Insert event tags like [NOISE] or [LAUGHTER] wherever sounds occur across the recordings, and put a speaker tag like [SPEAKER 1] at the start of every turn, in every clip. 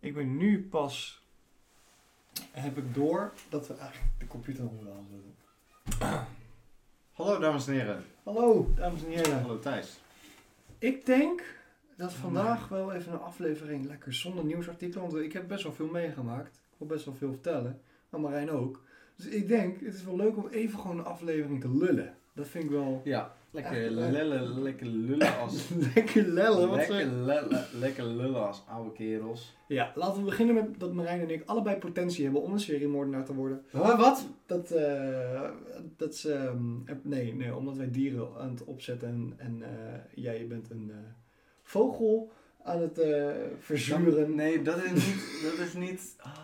[SPEAKER 1] me nu pas heb ik door dat we eigenlijk de computer nog moeten aanzetten.
[SPEAKER 2] Hallo dames en heren.
[SPEAKER 1] Hallo, dames en heren.
[SPEAKER 2] Hallo Thijs.
[SPEAKER 1] Ik denk dat vandaag wel even een aflevering lekker zonder nieuwsartikelen. Want ik heb best wel veel meegemaakt. Ik wil best wel veel vertellen. En Marijn ook. Dus ik denk, het is wel leuk om even gewoon een aflevering te lullen. Dat vind ik wel [LAUGHS]
[SPEAKER 2] Ja, lekker
[SPEAKER 1] Echt, eh,
[SPEAKER 2] lullen, lekker lullen als...
[SPEAKER 1] lekker lellen. Wat
[SPEAKER 2] lekker,
[SPEAKER 1] ze...
[SPEAKER 2] lullen, lekker lullen als oude kerels.
[SPEAKER 1] Ja, laten we beginnen met dat Marijn en ik allebei potentie hebben om een seriemoordenaar te worden.
[SPEAKER 2] wat?
[SPEAKER 1] Dat, eh, dat ze... ehm, er- nee, nee, omdat wij dieren aan het opzetten en, en eh, jij bent een eh, vogel aan het eh, verzuren.
[SPEAKER 2] Nee, dat is niet... Dat is niet... Ah,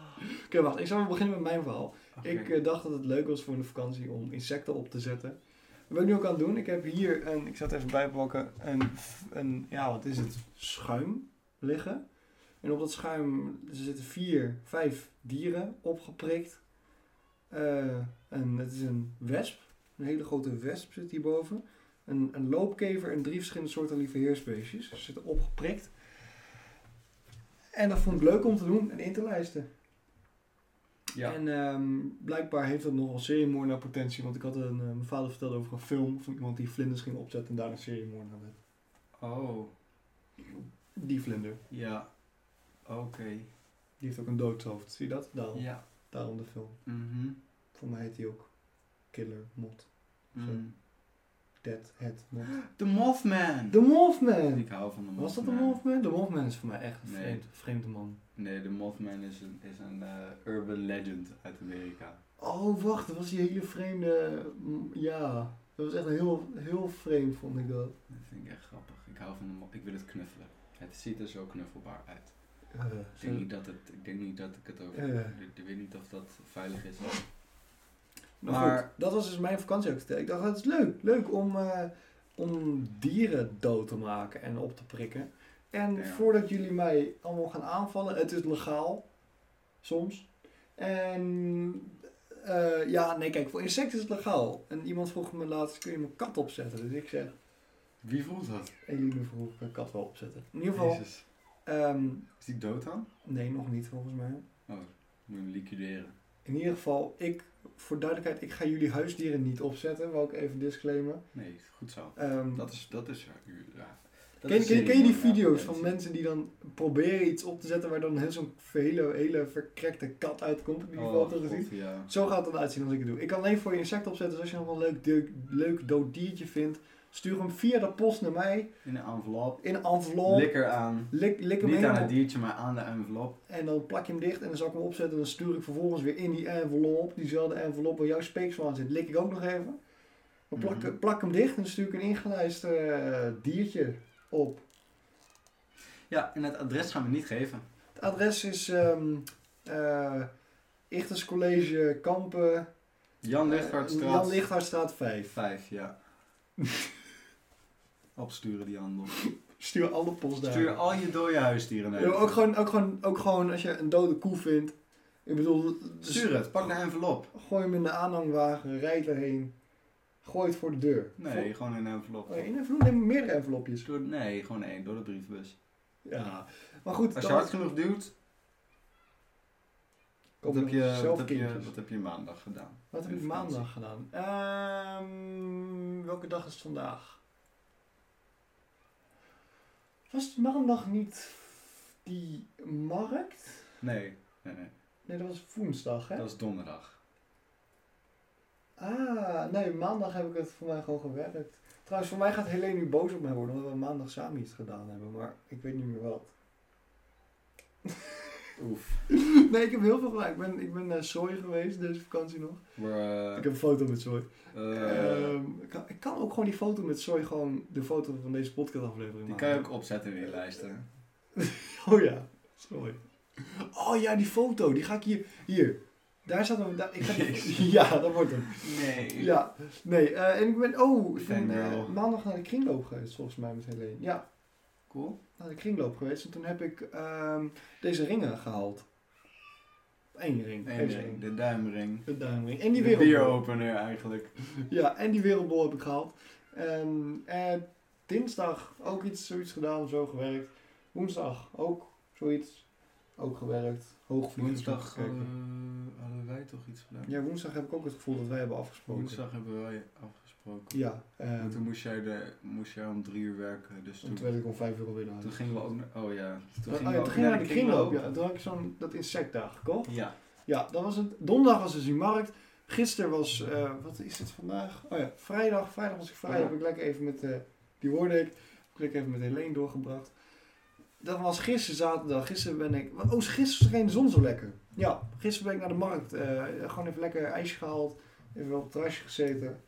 [SPEAKER 1] Oké, wacht. Ik zou beginnen met mijn verhaal.
[SPEAKER 2] Oké.
[SPEAKER 1] Ik eh, dacht dat het leuk was voor de vakantie om insecten op te zetten. Wat ben ik nu ook aan het doen? Ik heb hier een, ik zal het even bijpakken, een, een ja wat is het, schuim liggen. En op dat schuim er zitten vier, vijf dieren opgeprikt. Eh, en het is een wesp, een hele grote wesp zit hierboven. Een, een loopkever en drie verschillende soorten lieve heersbeestjes Ze zitten opgeprikt. En dat vond ik leuk om te doen en in te lijsten.
[SPEAKER 2] Ja.
[SPEAKER 1] En ehm, blijkbaar heeft dat nogal seriemoordenaar potentie. Want ik had een, eh, mijn vader vertelde over een film van iemand die vlinders ging opzetten en daar een seriemoordenaar werd.
[SPEAKER 2] Oh,
[SPEAKER 1] Die vlinder.
[SPEAKER 2] ja. Oké.
[SPEAKER 1] Die heeft ook een doodshoofd. Zie je dat? Daarom,
[SPEAKER 2] Ja.
[SPEAKER 1] daarom de film.
[SPEAKER 2] Mhm.
[SPEAKER 1] Voor mij heet die ook Killer Mot.
[SPEAKER 2] Mm.
[SPEAKER 1] Dead Head
[SPEAKER 2] [GASPS]
[SPEAKER 1] Mot.
[SPEAKER 2] The Mothman!
[SPEAKER 1] The Mothman!
[SPEAKER 2] Ik hou van de Mothman.
[SPEAKER 1] Was dat de Mothman? De Mothman is voor mij echt een
[SPEAKER 2] Nee.
[SPEAKER 1] vreemd, vreemde man.
[SPEAKER 2] Nee, de Mothman is een, is een eh, urban legend uit Amerika.
[SPEAKER 1] Oh, wacht. Dat was die hele vreemde... mm, Ja. Dat was echt heel, heel vreemd, vond ik dat.
[SPEAKER 2] Dat vind ik echt grappig. Ik hou van de mo- Ik wil het knuffelen. Het ziet er zo knuffelbaar uit.
[SPEAKER 1] Eh,
[SPEAKER 2] Ik denk niet dat, het, ik, denk niet dat ik het over...
[SPEAKER 1] eh.
[SPEAKER 2] Ik, ik weet niet of dat veilig is.
[SPEAKER 1] Maar,
[SPEAKER 2] Maar-
[SPEAKER 1] goed, dat was dus mijn vakantie ook. Ik dacht, het is leuk. Leuk om, eh, om dieren dood te maken en op te prikken. En
[SPEAKER 2] Ja.
[SPEAKER 1] voordat jullie mij allemaal gaan aanvallen, het is legaal. Soms. En eh, ja, nee, kijk, voor insecten is het legaal. En iemand vroeg me laatst, kun je mijn kat opzetten? Dus ik zeg,
[SPEAKER 2] Wie voelt dat?
[SPEAKER 1] Eline vroeg, ik kan kat wel opzetten. In ieder geval,
[SPEAKER 2] Jezus.
[SPEAKER 1] ehm,
[SPEAKER 2] Is die dood dan?
[SPEAKER 1] nee, nog niet volgens mij.
[SPEAKER 2] Oh, Moet je hem liquideren.
[SPEAKER 1] In ieder geval, ik, voor duidelijkheid, ik ga jullie huisdieren niet opzetten. Wou ik even disclaimen.
[SPEAKER 2] Nee, goed zo.
[SPEAKER 1] Ehm,
[SPEAKER 2] Dat is... Dat is ja. Dat
[SPEAKER 1] Ken,
[SPEAKER 2] is
[SPEAKER 1] ken, ken je die
[SPEAKER 2] serieus, ja,
[SPEAKER 1] video's van
[SPEAKER 2] dat is-
[SPEAKER 1] mensen die dan proberen iets op te zetten waar dan heel zo'n hele, hele verkrekte kat uitkomt? Heb je die foto
[SPEAKER 2] Oh, God,
[SPEAKER 1] gezien?
[SPEAKER 2] ja.
[SPEAKER 1] Zo gaat het uitzien als ik het doe. Ik kan alleen voor je insect opzetten, dus als je nog wel een leuk, de- leuk dood diertje vindt, stuur hem via de post naar mij
[SPEAKER 2] In een envelop.
[SPEAKER 1] in een envelop. Lik,
[SPEAKER 2] Likker aan.
[SPEAKER 1] lik, hem
[SPEAKER 2] Niet aan
[SPEAKER 1] helemaal
[SPEAKER 2] het diertje, maar aan de envelop.
[SPEAKER 1] en dan plak je hem dicht en dan zal ik hem opzetten en dan stuur ik vervolgens weer in die envelop, diezelfde envelop waar jouw speeksel aan zit, lik ik ook nog even. Dan plak,
[SPEAKER 2] Mhm.
[SPEAKER 1] plak hem dicht en dan stuur ik een ingelijst eh, diertje op.
[SPEAKER 2] Ja, en het adres gaan we niet geven.
[SPEAKER 1] Het adres is ehm eh, Ichters College Kampen.
[SPEAKER 2] Jan
[SPEAKER 1] eh,
[SPEAKER 2] Lichtvaartstraat.
[SPEAKER 1] Jan Lichthartstraat 5.
[SPEAKER 2] Vijf, ja. [LAUGHS] Opsturen die handel.
[SPEAKER 1] Stuur alle post daar.
[SPEAKER 2] Stuur al je dode huisdieren naar.
[SPEAKER 1] Ja, ook, gewoon, ook, gewoon, ook gewoon als je een dode koe vindt. Ik bedoel, dus
[SPEAKER 2] Stuur het, pak een envelop.
[SPEAKER 1] gooi hem in de aanhangwagen, rijd erheen. Gooi het voor de deur.
[SPEAKER 2] Nee, gewoon een envelop.
[SPEAKER 1] Oh, één envelop? Neem meerdere envelopjes.
[SPEAKER 2] Stuur- nee, gewoon één, door de brievenbus.
[SPEAKER 1] Ja. Maar goed,
[SPEAKER 2] Als je
[SPEAKER 1] dan
[SPEAKER 2] hard genoeg duwt, wat
[SPEAKER 1] komen
[SPEAKER 2] heb, je,
[SPEAKER 1] zelf
[SPEAKER 2] wat, heb je,
[SPEAKER 1] kindjes.
[SPEAKER 2] wat heb je maandag gedaan?
[SPEAKER 1] Wat heb ik
[SPEAKER 2] in vakantie?
[SPEAKER 1] maandag gedaan? Ehm, welke dag is het vandaag? Was het maandag niet die markt?
[SPEAKER 2] Nee, nee, nee.
[SPEAKER 1] Nee, dat was woensdag, hè?
[SPEAKER 2] dat is donderdag.
[SPEAKER 1] Ah, nee, maandag heb ik het voor mij gewoon gewerkt. Trouwens, voor mij gaat Helene nu boos op mij worden, omdat we maandag samen iets gedaan hebben, maar ik weet niet meer wat. [LAUGHS]
[SPEAKER 2] Oef.
[SPEAKER 1] Nee, ik heb heel veel gedaan. Ik ben, ik ben naar Zooi geweest, deze vakantie nog.
[SPEAKER 2] We're,
[SPEAKER 1] Ik
[SPEAKER 2] eh,
[SPEAKER 1] heb een foto met Zooi.
[SPEAKER 2] eh,
[SPEAKER 1] Ehm, ik, kan, ik kan ook gewoon die foto met Zooi, gewoon de foto van deze podcast aflevering
[SPEAKER 2] die kan je ook opzetten in je lijsten.
[SPEAKER 1] Oh ja, sorry. Oh ja, die foto, die ga ik hier. Hier, daar staat hem. daar- ik ga-
[SPEAKER 2] Jezus.
[SPEAKER 1] [LAUGHS] ja, dat wordt hem.
[SPEAKER 2] Nee.
[SPEAKER 1] Ja, nee. eh, en ik ben. Oh, ik ben
[SPEAKER 2] Fangirl.
[SPEAKER 1] eh, maandag naar de kringloop geweest, volgens mij met Helene. Ja,
[SPEAKER 2] Cool.
[SPEAKER 1] naar de kringloop geweest. En toen heb ik ehm, deze ringen gehaald: Eén ring,
[SPEAKER 2] Nee,
[SPEAKER 1] één
[SPEAKER 2] nee,
[SPEAKER 1] ring.
[SPEAKER 2] de duimring.
[SPEAKER 1] De duimring. En die
[SPEAKER 2] de
[SPEAKER 1] wereldbol.
[SPEAKER 2] bier-opener eigenlijk.
[SPEAKER 1] Ja, en die wereldbol heb ik gehaald. Ehm, en dinsdag ook iets, zoiets gedaan, zo gewerkt. Woensdag ook zoiets. Ook gewerkt. Hoogvliegers nog
[SPEAKER 2] Woensdag
[SPEAKER 1] gekeken.
[SPEAKER 2] hadden, hadden wij toch iets gedaan?
[SPEAKER 1] Ja, woensdag heb ik ook het gevoel dat wij hebben afgesproken.
[SPEAKER 2] Woensdag hebben wij afgesproken.
[SPEAKER 1] Ja,
[SPEAKER 2] Maar
[SPEAKER 1] en
[SPEAKER 2] toen moest jij, de, moest jij om drie uur werken, dus toen,
[SPEAKER 1] toen werd ik om 5 euro binnen.
[SPEAKER 2] toen gingen we ook naar... Oh ja,
[SPEAKER 1] Toen,
[SPEAKER 2] toen gingen we
[SPEAKER 1] oh, ja,
[SPEAKER 2] ook
[SPEAKER 1] toen gingen we
[SPEAKER 2] naar de kringloop.
[SPEAKER 1] Ja, toen had ik zo'n dat insect daar gekocht.
[SPEAKER 2] Ja,
[SPEAKER 1] Ja, dat was het. Donderdag was dus die markt. Gisteren was, eh, wat is het vandaag? Oh ja, vrijdag. Vrijdag was ik vrij.
[SPEAKER 2] Ja.
[SPEAKER 1] Heb ik lekker even met, eh, die hoorde ik. Heb ik lekker even met Helene doorgebracht. Dat was gisteren zaterdag. Gisteren ben ik, want, oh gisteren scheen de zon zo lekker. Ja, gisteren ben ik naar de markt. eh, gewoon even lekker ijsje gehaald. Even op het terrasje gezeten.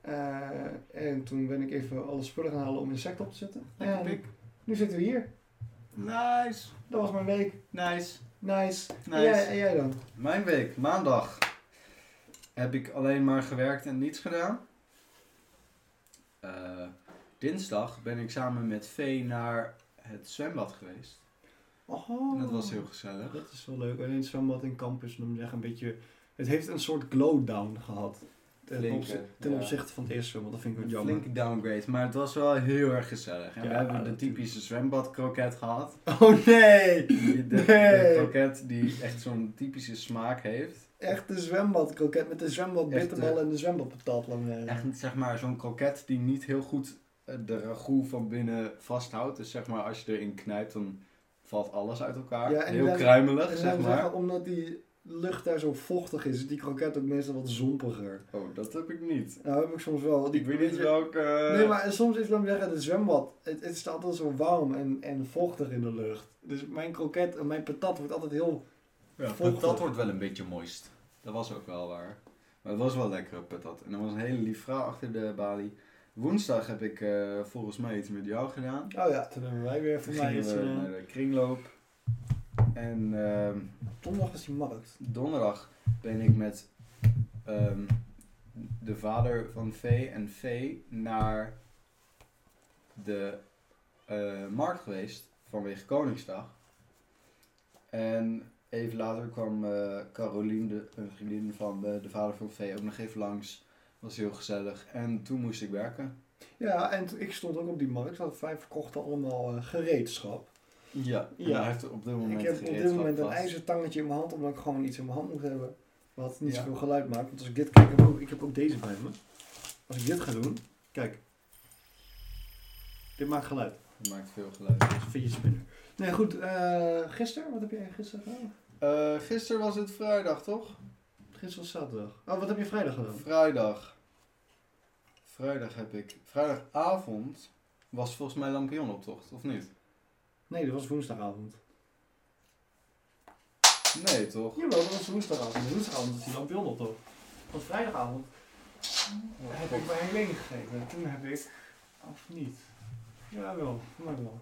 [SPEAKER 1] Eh, en toen ben ik even alle spullen gaan halen om insecten op te zetten.
[SPEAKER 2] lekker
[SPEAKER 1] En
[SPEAKER 2] pik.
[SPEAKER 1] nu zitten we hier.
[SPEAKER 2] Nice,
[SPEAKER 1] Dat was mijn week.
[SPEAKER 2] nice,
[SPEAKER 1] Nice. En, jij,
[SPEAKER 2] nice.
[SPEAKER 1] en jij dan?
[SPEAKER 2] Mijn week, maandag, heb ik alleen maar gewerkt en niets gedaan. Eh, dinsdag ben ik samen met Vee naar het zwembad geweest.
[SPEAKER 1] Oh.
[SPEAKER 2] En dat was heel gezellig.
[SPEAKER 1] Dat is wel leuk. Alleen het zwembad in campus, dan zeg een beetje. Het heeft een soort glow-down gehad. Ten,
[SPEAKER 2] Flinke,
[SPEAKER 1] opzi- ten
[SPEAKER 2] ja.
[SPEAKER 1] opzichte van het eerste zwembad, dat vind ik wel
[SPEAKER 2] Een
[SPEAKER 1] jammer.
[SPEAKER 2] flinke downgrade, maar het was wel heel erg gezellig. En
[SPEAKER 1] Ja,
[SPEAKER 2] we hebben de
[SPEAKER 1] natuurlijk.
[SPEAKER 2] typische zwembadkroket gehad.
[SPEAKER 1] [LAUGHS] Oh nee!
[SPEAKER 2] [LAUGHS] Die- De, de
[SPEAKER 1] Nee.
[SPEAKER 2] kroket die echt zo'n typische smaak heeft.
[SPEAKER 1] Echt de zwembadkroket met de zwembadbitterbal
[SPEAKER 2] Echt, eh,
[SPEAKER 1] en de zwembadpatat.
[SPEAKER 2] Echt zeg maar zo'n kroket die niet heel goed eh, de ragout van binnen vasthoudt. Dus zeg maar als je erin knijpt dan valt alles uit elkaar.
[SPEAKER 1] Ja, en
[SPEAKER 2] heel
[SPEAKER 1] dan-
[SPEAKER 2] kruimelig
[SPEAKER 1] En
[SPEAKER 2] zeg
[SPEAKER 1] dan
[SPEAKER 2] maar.
[SPEAKER 1] zeggen, omdat die lucht daar zo vochtig is, is die kroket ook meestal wat zompiger.
[SPEAKER 2] Oh, dat heb ik niet.
[SPEAKER 1] Nou heb ik soms wel.
[SPEAKER 2] Ik weet niet welke... eh,
[SPEAKER 1] Nee, maar soms is dan zeggen, het zwembad, het, het staat altijd zo warm en, en vochtig in de lucht. Dus mijn kroket en mijn patat wordt altijd heel...
[SPEAKER 2] Ja,
[SPEAKER 1] Volgende.
[SPEAKER 2] patat wordt wel een beetje moist. Dat was ook wel waar. Maar het was wel lekker patat. En er was een hele lief vrouw achter de balie. Woensdag heb ik eh, volgens mij iets met jou gedaan.
[SPEAKER 1] Oh ja, toen hebben wij weer
[SPEAKER 2] Toen
[SPEAKER 1] voor mij
[SPEAKER 2] gingen
[SPEAKER 1] iets...
[SPEAKER 2] we
[SPEAKER 1] eh,
[SPEAKER 2] naar de kringloop. En ehm,
[SPEAKER 1] Donderdag was die markt.
[SPEAKER 2] donderdag ben ik met ehm, de vader van Vee en Vee naar de eh, markt geweest vanwege Koningsdag. En even later kwam eh Caroline, de, een vriendin van eh, de, de vader van Vee, ook nog even langs. Was heel gezellig. En toen moest ik werken.
[SPEAKER 1] Ja, en t- ik stond ook op die markt, want wij verkochten allemaal eh, gereedschap.
[SPEAKER 2] Ja,
[SPEAKER 1] Ja.
[SPEAKER 2] ja. hij heeft op dit moment
[SPEAKER 1] ik heb op dit
[SPEAKER 2] gereedschap
[SPEAKER 1] moment een
[SPEAKER 2] vast.
[SPEAKER 1] ijzertangetje in mijn hand, omdat ik gewoon iets in mijn hand moet hebben. Wat niet
[SPEAKER 2] Ja.
[SPEAKER 1] zoveel geluid maakt. Want als ik dit kijk, heb ik, ook, ik heb ook deze bij me. Als ik dit ga doen, kijk. Dit maakt geluid.
[SPEAKER 2] Dat maakt veel geluid.
[SPEAKER 1] Dat is een fidget spinner. Nee, goed. eh, gisteren? Wat heb jij gisteren gedaan?
[SPEAKER 2] Eh, gisteren was het vrijdag, toch?
[SPEAKER 1] Gisteren was zaterdag. Oh, wat heb je vrijdag gedaan?
[SPEAKER 2] Vrijdag. Vrijdag heb ik. Vrijdagavond was volgens mij lampionoptocht, of niet?
[SPEAKER 1] Nee, dat was woensdagavond.
[SPEAKER 2] Nee, toch?
[SPEAKER 1] Jawel, dat was woensdagavond. Woensdagavond was die lampion op, toch? Want vrijdagavond heb ik bij Helene gegeven. En toen heb ik... Of niet? Jawel, voor mij wel.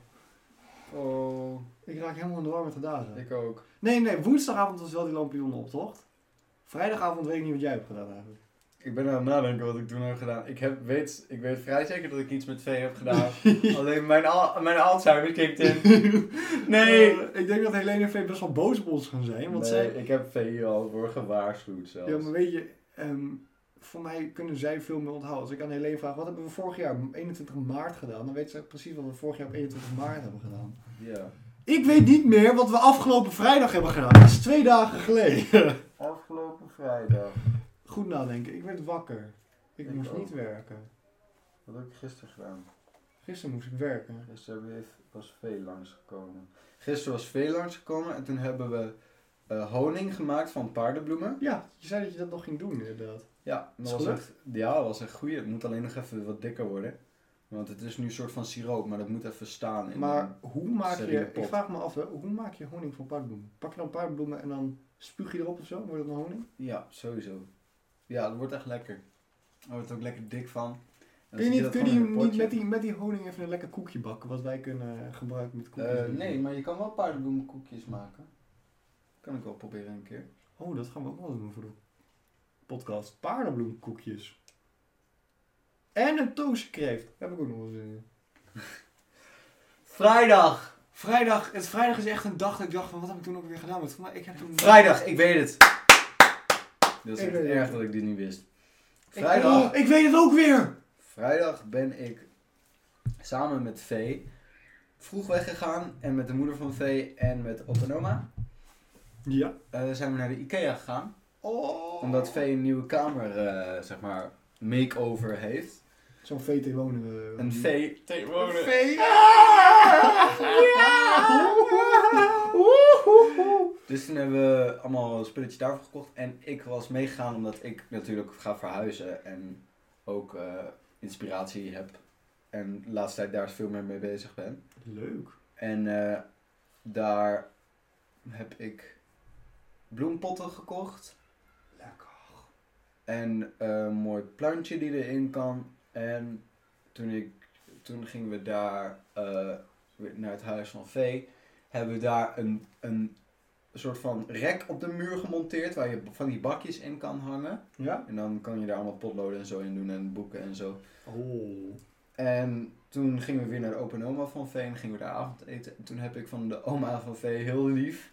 [SPEAKER 2] Oh,
[SPEAKER 1] Ik raak helemaal in de war met de dagen.
[SPEAKER 2] ik ook.
[SPEAKER 1] Nee, nee, woensdagavond was wel die lampionnenoptocht. Vrijdagavond weet ik niet wat jij hebt gedaan eigenlijk.
[SPEAKER 2] Ik ben aan het nadenken wat ik toen heb gedaan. Ik, heb, weet, ik weet vrij zeker dat ik iets met twee heb [LAUGHS] gedaan. Alleen mijn, al, mijn Alzheimer kicked [LAUGHS] in. Nee!
[SPEAKER 1] Eh, ik denk dat Helene en Vee best wel boos op ons gaan zijn. Want
[SPEAKER 2] nee,
[SPEAKER 1] zij...
[SPEAKER 2] ik heb Vee hier al voor gewaarschuwd zelfs.
[SPEAKER 1] Ja, maar weet je... ehm, voor mij kunnen zij veel meer onthouden. Als ik aan Helene vraag, wat hebben we vorig jaar op 21 maart gedaan? Dan weet ze precies wat we vorig jaar op 21 maart hebben gedaan.
[SPEAKER 2] Ja.
[SPEAKER 1] Ik weet niet meer wat we afgelopen vrijdag hebben gedaan. Dat is twee dagen
[SPEAKER 2] [LAUGHS]
[SPEAKER 1] geleden.
[SPEAKER 2] Afgelopen vrijdag.
[SPEAKER 1] Goed nadenken, ik werd wakker. Ik,
[SPEAKER 2] Ik
[SPEAKER 1] moest
[SPEAKER 2] ook.
[SPEAKER 1] niet werken.
[SPEAKER 2] Wat heb ik gisteren gedaan?
[SPEAKER 1] Gisteren moest ik werken.
[SPEAKER 2] Gisteren heb ik- Dus was veel langsgekomen. Gisteren was veel langsgekomen en toen hebben we eh, honing gemaakt van paardenbloemen.
[SPEAKER 1] Ja, je zei dat je dat nog ging doen inderdaad.
[SPEAKER 2] Ja,
[SPEAKER 1] Is
[SPEAKER 2] dat was
[SPEAKER 1] gelukt?
[SPEAKER 2] echt, ja, dat was echt goed. Het moet alleen nog even wat dikker worden. Want het is nu een soort van siroop, maar dat moet even staan. in
[SPEAKER 1] Maar hoe maak
[SPEAKER 2] Steriele
[SPEAKER 1] je, ik
[SPEAKER 2] pot.
[SPEAKER 1] vraag me af, hè, hoe maak je honing van paardbloemen? Pak je dan paardbloemen en dan spuug je erop of zo? Wordt het een honing?
[SPEAKER 2] een- Ja, sowieso. Ja, dat wordt echt lekker. Er wordt ook lekker dik van. En dan
[SPEAKER 1] Kun je niet,
[SPEAKER 2] zet dat
[SPEAKER 1] kun je
[SPEAKER 2] gewoon in een
[SPEAKER 1] niet
[SPEAKER 2] potje.
[SPEAKER 1] met, die, met die honing even een lekker koekje bakken? Wat wij kunnen eh, gebruiken met koekjes.
[SPEAKER 2] Eh, nee, maar je kan wel paardenbloemkoekjes maken. Kan ik wel proberen een keer.
[SPEAKER 1] Oh, dat gaan we ook wel doen voor de podcast. Paardenbloemkoekjes. En een toostkreeft. Daar heb ik ook nog wel zin in.
[SPEAKER 2] Vrijdag!
[SPEAKER 1] Vrijdag. Het vrijdag is echt een dag dat ik dacht van wat heb ik toen ook weer gedaan. Want voor mij, ik heb toen...
[SPEAKER 2] Vrijdag, ik weet het. Dat is
[SPEAKER 1] Ik
[SPEAKER 2] echt
[SPEAKER 1] weet het.
[SPEAKER 2] erg dat ik dit niet wist.
[SPEAKER 1] Ik-
[SPEAKER 2] Vrijdag,
[SPEAKER 1] oh, ik weet het ook weer.
[SPEAKER 2] vrijdag ben ik samen met Vee vroeg weggegaan en met de moeder van Vee en met opa en oma
[SPEAKER 1] Ja.
[SPEAKER 2] eh, zijn we naar de Ikea gegaan.
[SPEAKER 1] Oh.
[SPEAKER 2] Omdat Vee een nieuwe kamer, eh, zeg maar, makeover heeft.
[SPEAKER 1] Zo'n vee te wonen. eh,
[SPEAKER 2] En Vee...
[SPEAKER 1] Een
[SPEAKER 2] Tegenwoordig.
[SPEAKER 1] vee.
[SPEAKER 2] Dus toen hebben we allemaal een spulletje daarvoor gekocht. En ik was meegegaan omdat ik natuurlijk ga verhuizen. En ook eh, inspiratie heb. En de laatste tijd daar veel meer mee bezig ben.
[SPEAKER 1] Leuk.
[SPEAKER 2] En eh, daar heb ik bloempotten gekocht.
[SPEAKER 1] Lekker.
[SPEAKER 2] En eh, een mooi plantje die erin kan. En toen, ik, toen gingen we daar eh, weer naar het huis van Vee. Hebben we daar een, een soort van rek op de muur gemonteerd. Waar je van die bakjes in kan hangen.
[SPEAKER 1] Ja?
[SPEAKER 2] En dan kan je daar allemaal potloden en zo in doen. En boeken en zo.
[SPEAKER 1] Oh.
[SPEAKER 2] En toen gingen we weer naar de open oma van Vee en gingen we daar avondeten. En toen heb ik van de oma van Vee heel lief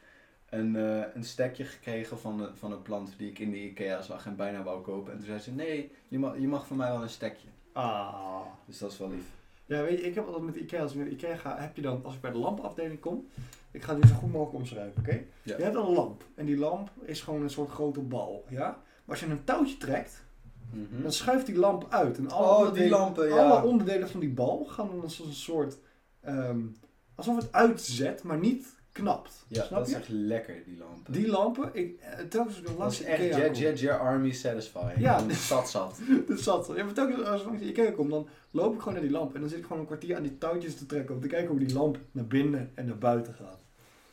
[SPEAKER 2] een, eh, een stekje gekregen van, de, van een plant die ik in de Ikea zag en bijna wou kopen. En toen zei ze, nee, je mag, je mag van mij wel een stekje.
[SPEAKER 1] Ah.
[SPEAKER 2] Dus dat is wel lief.
[SPEAKER 1] Ja, weet je, ik heb altijd met IKEA, als ik naar IKEA ga, heb je dan, als ik bij de lampafdeling kom, ik ga het nu zo goed mogelijk omschrijven, oké?
[SPEAKER 2] Ja.
[SPEAKER 1] Je hebt een lamp en die lamp is gewoon een soort grote bal, ja? Maar als je een touwtje trekt,
[SPEAKER 2] Mhm.
[SPEAKER 1] dan schuift die lamp uit en alle,
[SPEAKER 2] Oh, die
[SPEAKER 1] onderdelen,
[SPEAKER 2] lampen, ja.
[SPEAKER 1] alle onderdelen van die bal gaan dan als een soort, ehm, alsof het uitzet, maar niet knapt,
[SPEAKER 2] Ja,
[SPEAKER 1] snap
[SPEAKER 2] dat is
[SPEAKER 1] je?
[SPEAKER 2] echt lekker, die lampen.
[SPEAKER 1] Die lampen, ik, eh, telkens als ik de
[SPEAKER 2] dat is
[SPEAKER 1] laatste
[SPEAKER 2] echt
[SPEAKER 1] IKEA
[SPEAKER 2] Jet
[SPEAKER 1] kom-
[SPEAKER 2] Jet Jet Army Satisfying.
[SPEAKER 1] Ja.
[SPEAKER 2] Ja. Zat zat.
[SPEAKER 1] Dat zat. Ja, maar telkens als ik langs de IKEA kom, dan loop ik gewoon naar die lamp. En dan zit ik gewoon een kwartier aan die touwtjes te trekken. Om te kijken hoe die lamp naar binnen en naar buiten gaat.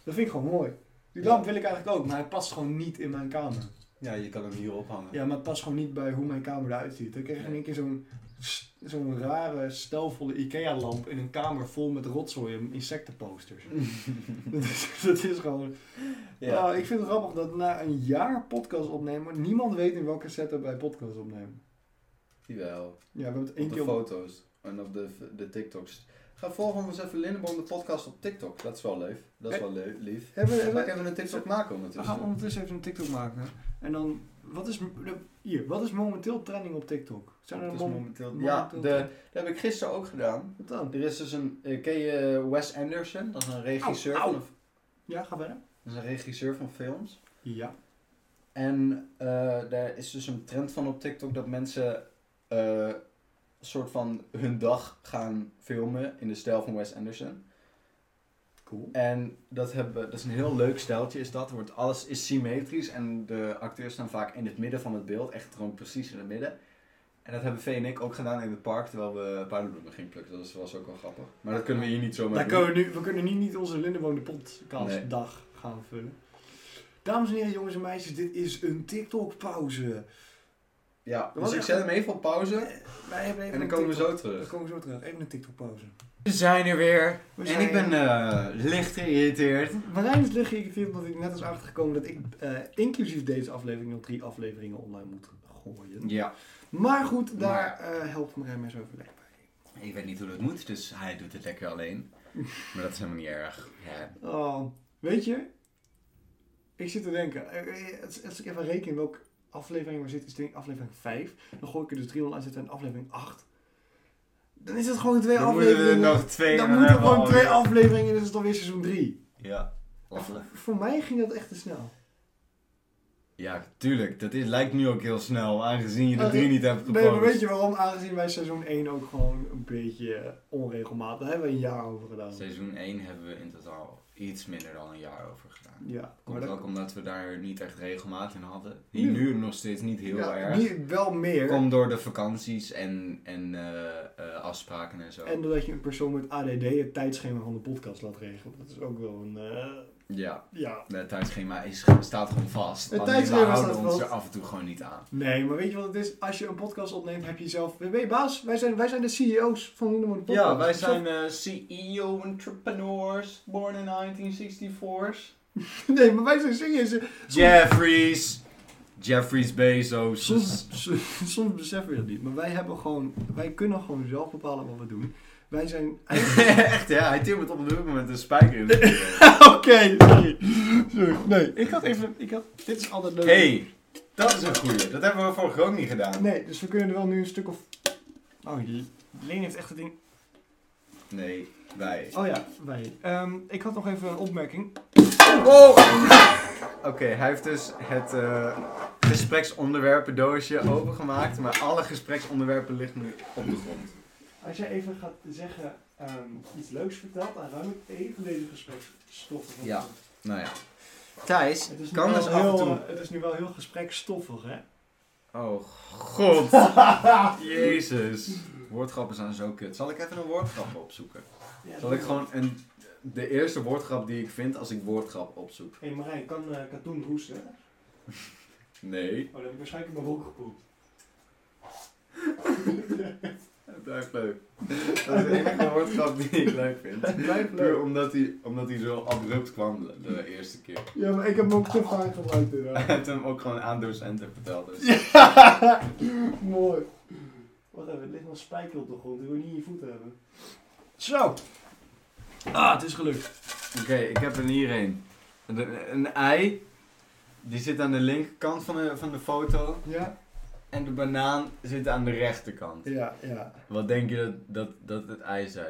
[SPEAKER 1] Dat vind ik gewoon mooi. Die
[SPEAKER 2] Ja.
[SPEAKER 1] lamp wil ik eigenlijk ook, maar hij past gewoon niet in mijn kamer.
[SPEAKER 2] Ja, je kan hem hier ophangen.
[SPEAKER 1] Ja, maar het past gewoon niet bij hoe mijn kamer eruit ziet. Dan krijg je in één keer zo'n s- zo'n rare, stelvolle IKEA-lamp in een kamer vol met rotzooi en
[SPEAKER 2] [LAUGHS]
[SPEAKER 1] insectenposters. dat, is, dat is gewoon...
[SPEAKER 2] Ja.
[SPEAKER 1] Nou, ik vind het grappig dat na een jaar podcast opnemen, niemand weet in welke setup wij podcast opnemen.
[SPEAKER 2] Die wel.
[SPEAKER 1] Ja, we hebben het één
[SPEAKER 2] Op
[SPEAKER 1] keer
[SPEAKER 2] de
[SPEAKER 1] op-
[SPEAKER 2] foto's en op de, de TikToks. Ga volgen ons even Lindenboom de podcast op TikTok. Dat is wel leuk. Dat is wel leuk, lief.
[SPEAKER 1] Hebben,
[SPEAKER 2] Ga
[SPEAKER 1] hebben,
[SPEAKER 2] ik even een TikTok maken
[SPEAKER 1] We gaan
[SPEAKER 2] ondertussen.
[SPEAKER 1] ondertussen even een TikTok maken. En dan, wat is, hier, wat is momenteel trending op TikTok? Zijn er
[SPEAKER 2] Het is
[SPEAKER 1] mom-
[SPEAKER 2] momenteel...
[SPEAKER 1] momenteel
[SPEAKER 2] Ja, de,
[SPEAKER 1] trending?
[SPEAKER 2] dat heb ik gisteren ook gedaan.
[SPEAKER 1] Wat dan?
[SPEAKER 2] Er is dus een... eh, ken je Wes Anderson? Dat is een regisseur,
[SPEAKER 1] Au, au.
[SPEAKER 2] Van,
[SPEAKER 1] Ja, ga verder.
[SPEAKER 2] dat is een regisseur van films.
[SPEAKER 1] Ja.
[SPEAKER 2] En eh, daar is dus een trend van op TikTok dat mensen... eh soort van hun dag gaan filmen in de stijl van Wes Anderson.
[SPEAKER 1] Cool.
[SPEAKER 2] En dat, hebben, dat is een heel leuk stijltje, is dat. Er Wordt, alles is symmetrisch en de acteurs staan vaak in het midden van het beeld. Echt gewoon precies in het midden. En dat hebben Vee en ik ook gedaan in het park, terwijl we paardenbloemen gingen plukken. Dat was, was ook wel grappig. Maar dat kunnen we hier niet zomaar
[SPEAKER 1] Daar
[SPEAKER 2] doen.
[SPEAKER 1] kunnen we, nu, we kunnen nu niet onze Lindenboom de podcast
[SPEAKER 2] Nee.
[SPEAKER 1] dag gaan vullen. Dames en heren, jongens en meisjes, dit is een TikTok pauze.
[SPEAKER 2] Ja,
[SPEAKER 1] Wat
[SPEAKER 2] dus ik
[SPEAKER 1] echt-
[SPEAKER 2] zet hem even op pauze
[SPEAKER 1] Eh, Wij hebben even
[SPEAKER 2] en dan
[SPEAKER 1] een
[SPEAKER 2] komen we
[SPEAKER 1] TikTok-
[SPEAKER 2] zo
[SPEAKER 1] Dan
[SPEAKER 2] terug.
[SPEAKER 1] komen we zo terug. Even een TikTok pauze.
[SPEAKER 2] We zijn er weer.
[SPEAKER 1] We
[SPEAKER 2] En
[SPEAKER 1] zijn-
[SPEAKER 2] ik ben eh, licht geïrriteerd.
[SPEAKER 1] Marijn is licht geïrriteerd omdat ik net is achtergekomen dat ik eh, inclusief deze aflevering nog drie afleveringen online moet gooien.
[SPEAKER 2] Ja,
[SPEAKER 1] Maar goed, daar eh, helpt Marijn mij zo overleg bij.
[SPEAKER 2] ik weet niet hoe dat moet, dus hij doet het lekker alleen. Maar dat is helemaal niet erg. Ja.
[SPEAKER 1] Oh, weet je, ik zit te denken, eh, eh, als, als ik even reken in welke aflevering we zitten, is denk ik aflevering 5. Dan gooi ik er dus 300 aan zitten en aflevering 8. Dan is het gewoon twee
[SPEAKER 2] Dan moeten we er
[SPEAKER 1] afleveringen.
[SPEAKER 2] nog twee en
[SPEAKER 1] dan
[SPEAKER 2] dan
[SPEAKER 1] moeten
[SPEAKER 2] hebben we
[SPEAKER 1] gewoon twee
[SPEAKER 2] alweer-
[SPEAKER 1] afleveringen en dan is het alweer seizoen 3.
[SPEAKER 2] Ja,
[SPEAKER 1] Voor, voor mij ging dat echt te snel.
[SPEAKER 2] Ja, tuurlijk. Dat is, lijkt nu ook heel snel, aangezien je de
[SPEAKER 1] Nou,
[SPEAKER 2] drie niet hebt gepost.
[SPEAKER 1] Nee, maar weet je waarom? Aangezien wij seizoen 1 ook gewoon een beetje eh, onregelmatig. Daar hebben we een jaar over gedaan.
[SPEAKER 2] Seizoen 1 hebben we in totaal iets minder dan een jaar over gedaan.
[SPEAKER 1] Ja,
[SPEAKER 2] Komt
[SPEAKER 1] maar dat-
[SPEAKER 2] ook omdat we daar niet echt regelmaat in hadden. Die
[SPEAKER 1] Ja.
[SPEAKER 2] nu nog steeds niet heel
[SPEAKER 1] ja,
[SPEAKER 2] erg.
[SPEAKER 1] die- wel meer.
[SPEAKER 2] Komt door de vakanties en, en eh, eh, afspraken en zo.
[SPEAKER 1] En doordat je een persoon met ADD het tijdschema van de podcast laat regelen. Dat is ook wel een... eh,
[SPEAKER 2] Ja,
[SPEAKER 1] ja.
[SPEAKER 2] het tijdschema is, staat gewoon vast.
[SPEAKER 1] Het
[SPEAKER 2] Alleen
[SPEAKER 1] tijdschema
[SPEAKER 2] we houden
[SPEAKER 1] staat
[SPEAKER 2] ons
[SPEAKER 1] vast.
[SPEAKER 2] er af en toe gewoon niet aan.
[SPEAKER 1] Nee, maar weet je wat het is? Als je een podcast opneemt, heb je jezelf... Hé baas, wij zijn, wij zijn de CEO's van Lindemann de Podcast.
[SPEAKER 2] eh, CEO-entrepreneurs, E born in 1964's.
[SPEAKER 1] [LAUGHS] Nee, maar wij zijn E serieus.
[SPEAKER 2] Jeffries. Jeffries Bezos.
[SPEAKER 1] Soms, soms, [LAUGHS] soms beseffen we dat niet. Maar wij hebben gewoon... Wij kunnen gewoon zelf bepalen wat we doen. Wij zijn...
[SPEAKER 2] [LAUGHS]
[SPEAKER 1] [LAUGHS]
[SPEAKER 2] Echt, ja, hij timmert op de hoek met een spijker in de
[SPEAKER 1] Oké, sorry. Sorry. Nee, ik had even... Ik had, dit is altijd leuk.
[SPEAKER 2] hey, dat is een goeie. Dat hebben we vorige keer ook niet gedaan.
[SPEAKER 1] Nee, dus we kunnen er wel nu een stuk of... Oh, Leen heeft echt het ding...
[SPEAKER 2] Nee, wij.
[SPEAKER 1] Oh ja, wij. Ehm, ik had nog even een opmerking.
[SPEAKER 2] Oh! Oké, hij heeft dus het eh gespreksonderwerpendoosje opengemaakt, maar alle gespreksonderwerpen liggen nu op de grond.
[SPEAKER 1] Als jij even gaat zeggen ehm, iets leuks vertelt, dan ruim ik even deze gespreksstoffen. van
[SPEAKER 2] Ja.
[SPEAKER 1] op.
[SPEAKER 2] Nou ja. Thijs,
[SPEAKER 1] Het is, nu
[SPEAKER 2] kan
[SPEAKER 1] wel
[SPEAKER 2] dus af en
[SPEAKER 1] heel,
[SPEAKER 2] toe...
[SPEAKER 1] eh, het is nu wel heel gespreksstoffig, hè?
[SPEAKER 2] Oh,
[SPEAKER 1] [LAUGHS]
[SPEAKER 2] god. Jezus. Woordgrappen zijn zo kut. Zal ik even een woordgrap opzoeken?
[SPEAKER 1] Ja,
[SPEAKER 2] Zal ik gewoon een, de eerste woordgrap die ik vind als ik woordgrap opzoek?
[SPEAKER 1] Hé hey Marijn, kan eh katoen hoesten? Oh,
[SPEAKER 2] Nee.
[SPEAKER 1] dan heb ik waarschijnlijk in mijn broek gepoept.
[SPEAKER 2] Het blijft leuk. [LAUGHS] Dat is de enige woordgrap die ik leuk vind.
[SPEAKER 1] Blijf
[SPEAKER 2] Puur omdat hij, omdat hij zo abrupt kwam de, de eerste keer.
[SPEAKER 1] Ja, maar ik heb hem ook te vaak gebruikt [LAUGHS]
[SPEAKER 2] [LAUGHS] Hij
[SPEAKER 1] inderdaad.
[SPEAKER 2] heeft hem ook gewoon aan docenten verteld. Dus.
[SPEAKER 1] Mooi. Wacht even, er ligt nog spijker op de grond. Die wil je niet in je voeten hebben. Zo! Ah, het is gelukt.
[SPEAKER 2] Oké, ik heb er hier een. Een- Een ei. Die zit aan de linkerkant van de, van de foto.
[SPEAKER 1] Ja?
[SPEAKER 2] En de banaan zit aan de rechterkant.
[SPEAKER 1] Ja, ja.
[SPEAKER 2] Wat denk je dat, dat, dat het ei zei?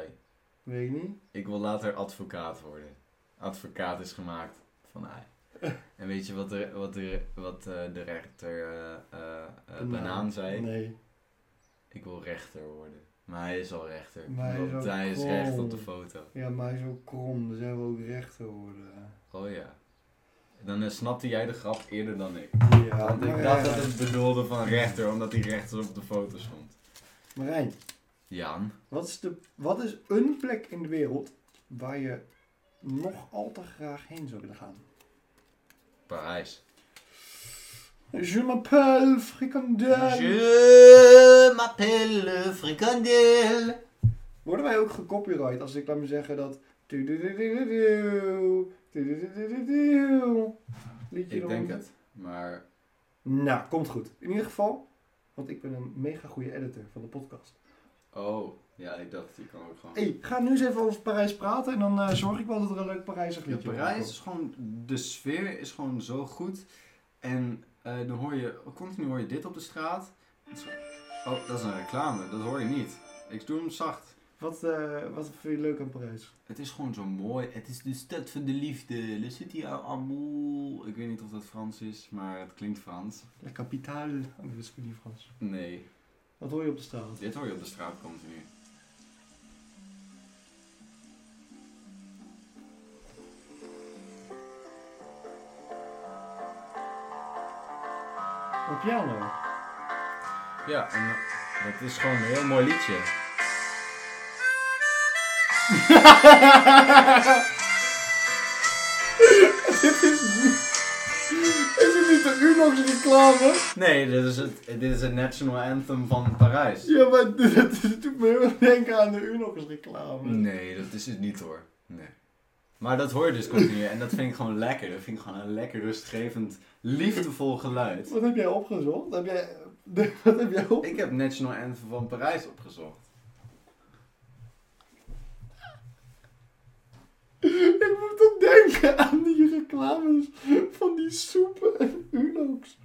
[SPEAKER 1] Weet ik niet.
[SPEAKER 2] Ik wil later advocaat worden. Advocaat is gemaakt van
[SPEAKER 1] [LAUGHS]
[SPEAKER 2] ei. En weet je wat de, wat de, wat eh, de rechter eh, eh, eh, banaan zei?
[SPEAKER 1] Nee.
[SPEAKER 2] Ik wil rechter worden. Maar hij is al rechter.
[SPEAKER 1] Maar hij is
[SPEAKER 2] Want
[SPEAKER 1] al
[SPEAKER 2] hij is
[SPEAKER 1] krom.
[SPEAKER 2] recht op de foto.
[SPEAKER 1] Ja, maar hij is ook krom. Dan zijn we ook rechter worden.
[SPEAKER 2] Oh ja. Dan eh, snapte jij de grap eerder dan ik.
[SPEAKER 1] Ja,
[SPEAKER 2] Want ik
[SPEAKER 1] Marijn.
[SPEAKER 2] dacht dat het bedoelde van rechter, omdat hij rechter op de foto stond.
[SPEAKER 1] Marijn,
[SPEAKER 2] Jan.
[SPEAKER 1] wat is, de, wat is een plek in de wereld waar je nog al te graag heen zou willen gaan?
[SPEAKER 2] Parijs.
[SPEAKER 1] Je m'appelle Frikandel.
[SPEAKER 2] Je m'appelle frikandel.
[SPEAKER 1] Worden wij ook gecopyright als ik laat me zeggen dat... tudududududu, tudududududu, Liedje
[SPEAKER 2] Ik denk
[SPEAKER 1] eronder?
[SPEAKER 2] het. Maar
[SPEAKER 1] Nou, komt goed. In ieder geval, want ik ben een mega goede editor van de podcast.
[SPEAKER 2] Oh, ja, ik dacht, die kan ook gewoon.
[SPEAKER 1] hey, ga nu eens even over Parijs praten en dan eh, zorg ik wel dat er een leuk Parijs
[SPEAKER 2] Ja,
[SPEAKER 1] liedje
[SPEAKER 2] Parijs
[SPEAKER 1] komt.
[SPEAKER 2] is gewoon, de sfeer is gewoon zo goed. En eh, dan hoor je, continu hoor je dit op de straat. Het is- Oh, dat is een reclame, dat hoor je niet. Ik doe hem zacht.
[SPEAKER 1] Wat, eh, wat vind je leuk aan Parijs?
[SPEAKER 2] Het is gewoon zo mooi. Het is de stad van de liefde. Le city à amour. Ik weet niet of dat Frans is, maar het klinkt Frans.
[SPEAKER 1] La capitale. Oh, dat is niet Frans.
[SPEAKER 2] Nee,
[SPEAKER 1] Wat hoor je op de straat?
[SPEAKER 2] dit hoor je op de straat continu.
[SPEAKER 1] Een piano.
[SPEAKER 2] Ja, en dat is gewoon een heel mooi liedje.
[SPEAKER 1] Is het niet de Unox reclame?
[SPEAKER 2] Nee, dit is het, dit is het national anthem van Parijs.
[SPEAKER 1] Ja, maar [LAUGHS] dit doet me heel erg denken aan de Unox reclame.
[SPEAKER 2] Nee, dat is het niet hoor. Nee. Maar dat hoor je dus continu en dat vind ik gewoon lekker. Dat vind ik gewoon een lekker rustgevend, liefdevol geluid.
[SPEAKER 1] Wat heb jij opgezocht? Heb jij, [LAUGHS] wat heb jij op?
[SPEAKER 2] Ik heb National Anthem van Parijs opgezocht.
[SPEAKER 1] Ik moet dan denken aan die reclames van die soepen en Unox.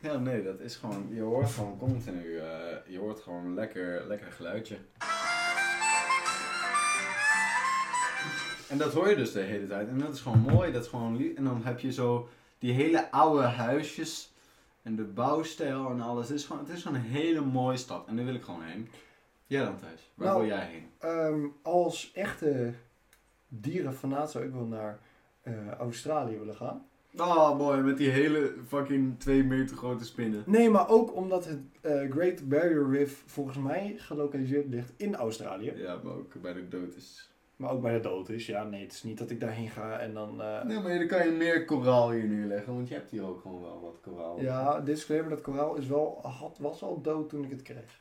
[SPEAKER 2] Ja, nee, dat is gewoon, je hoort gewoon continu, eh, je hoort gewoon een lekker, lekker geluidje. En dat hoor je dus de hele tijd. En dat is gewoon mooi, dat is gewoon lief. En dan heb je zo die hele oude huisjes en de bouwstijl en alles. Het is gewoon, het is gewoon een hele mooie stad. En daar wil ik gewoon heen. Jij dan thuis, waar
[SPEAKER 1] Nou,
[SPEAKER 2] wil jij heen?
[SPEAKER 1] als echte dierenfanaat zou ik wel naar eh, Australië willen gaan.
[SPEAKER 2] Oh boy, met die hele fucking 2 meter grote spinnen.
[SPEAKER 1] Nee, maar ook omdat het eh, Great Barrier Reef volgens mij gelokaliseerd ligt in Australië.
[SPEAKER 2] Ja, maar ook bij de dood is.
[SPEAKER 1] Maar ook bij de dood is. Ja, nee, het is niet dat ik daarheen ga en dan... eh,
[SPEAKER 2] Nee, maar dan kan je meer koraal hier neerleggen, want je hebt hier ook gewoon wel wat koraal.
[SPEAKER 1] Ja, disclaimer, dat koraal is wel, had, was al dood toen ik het kreeg.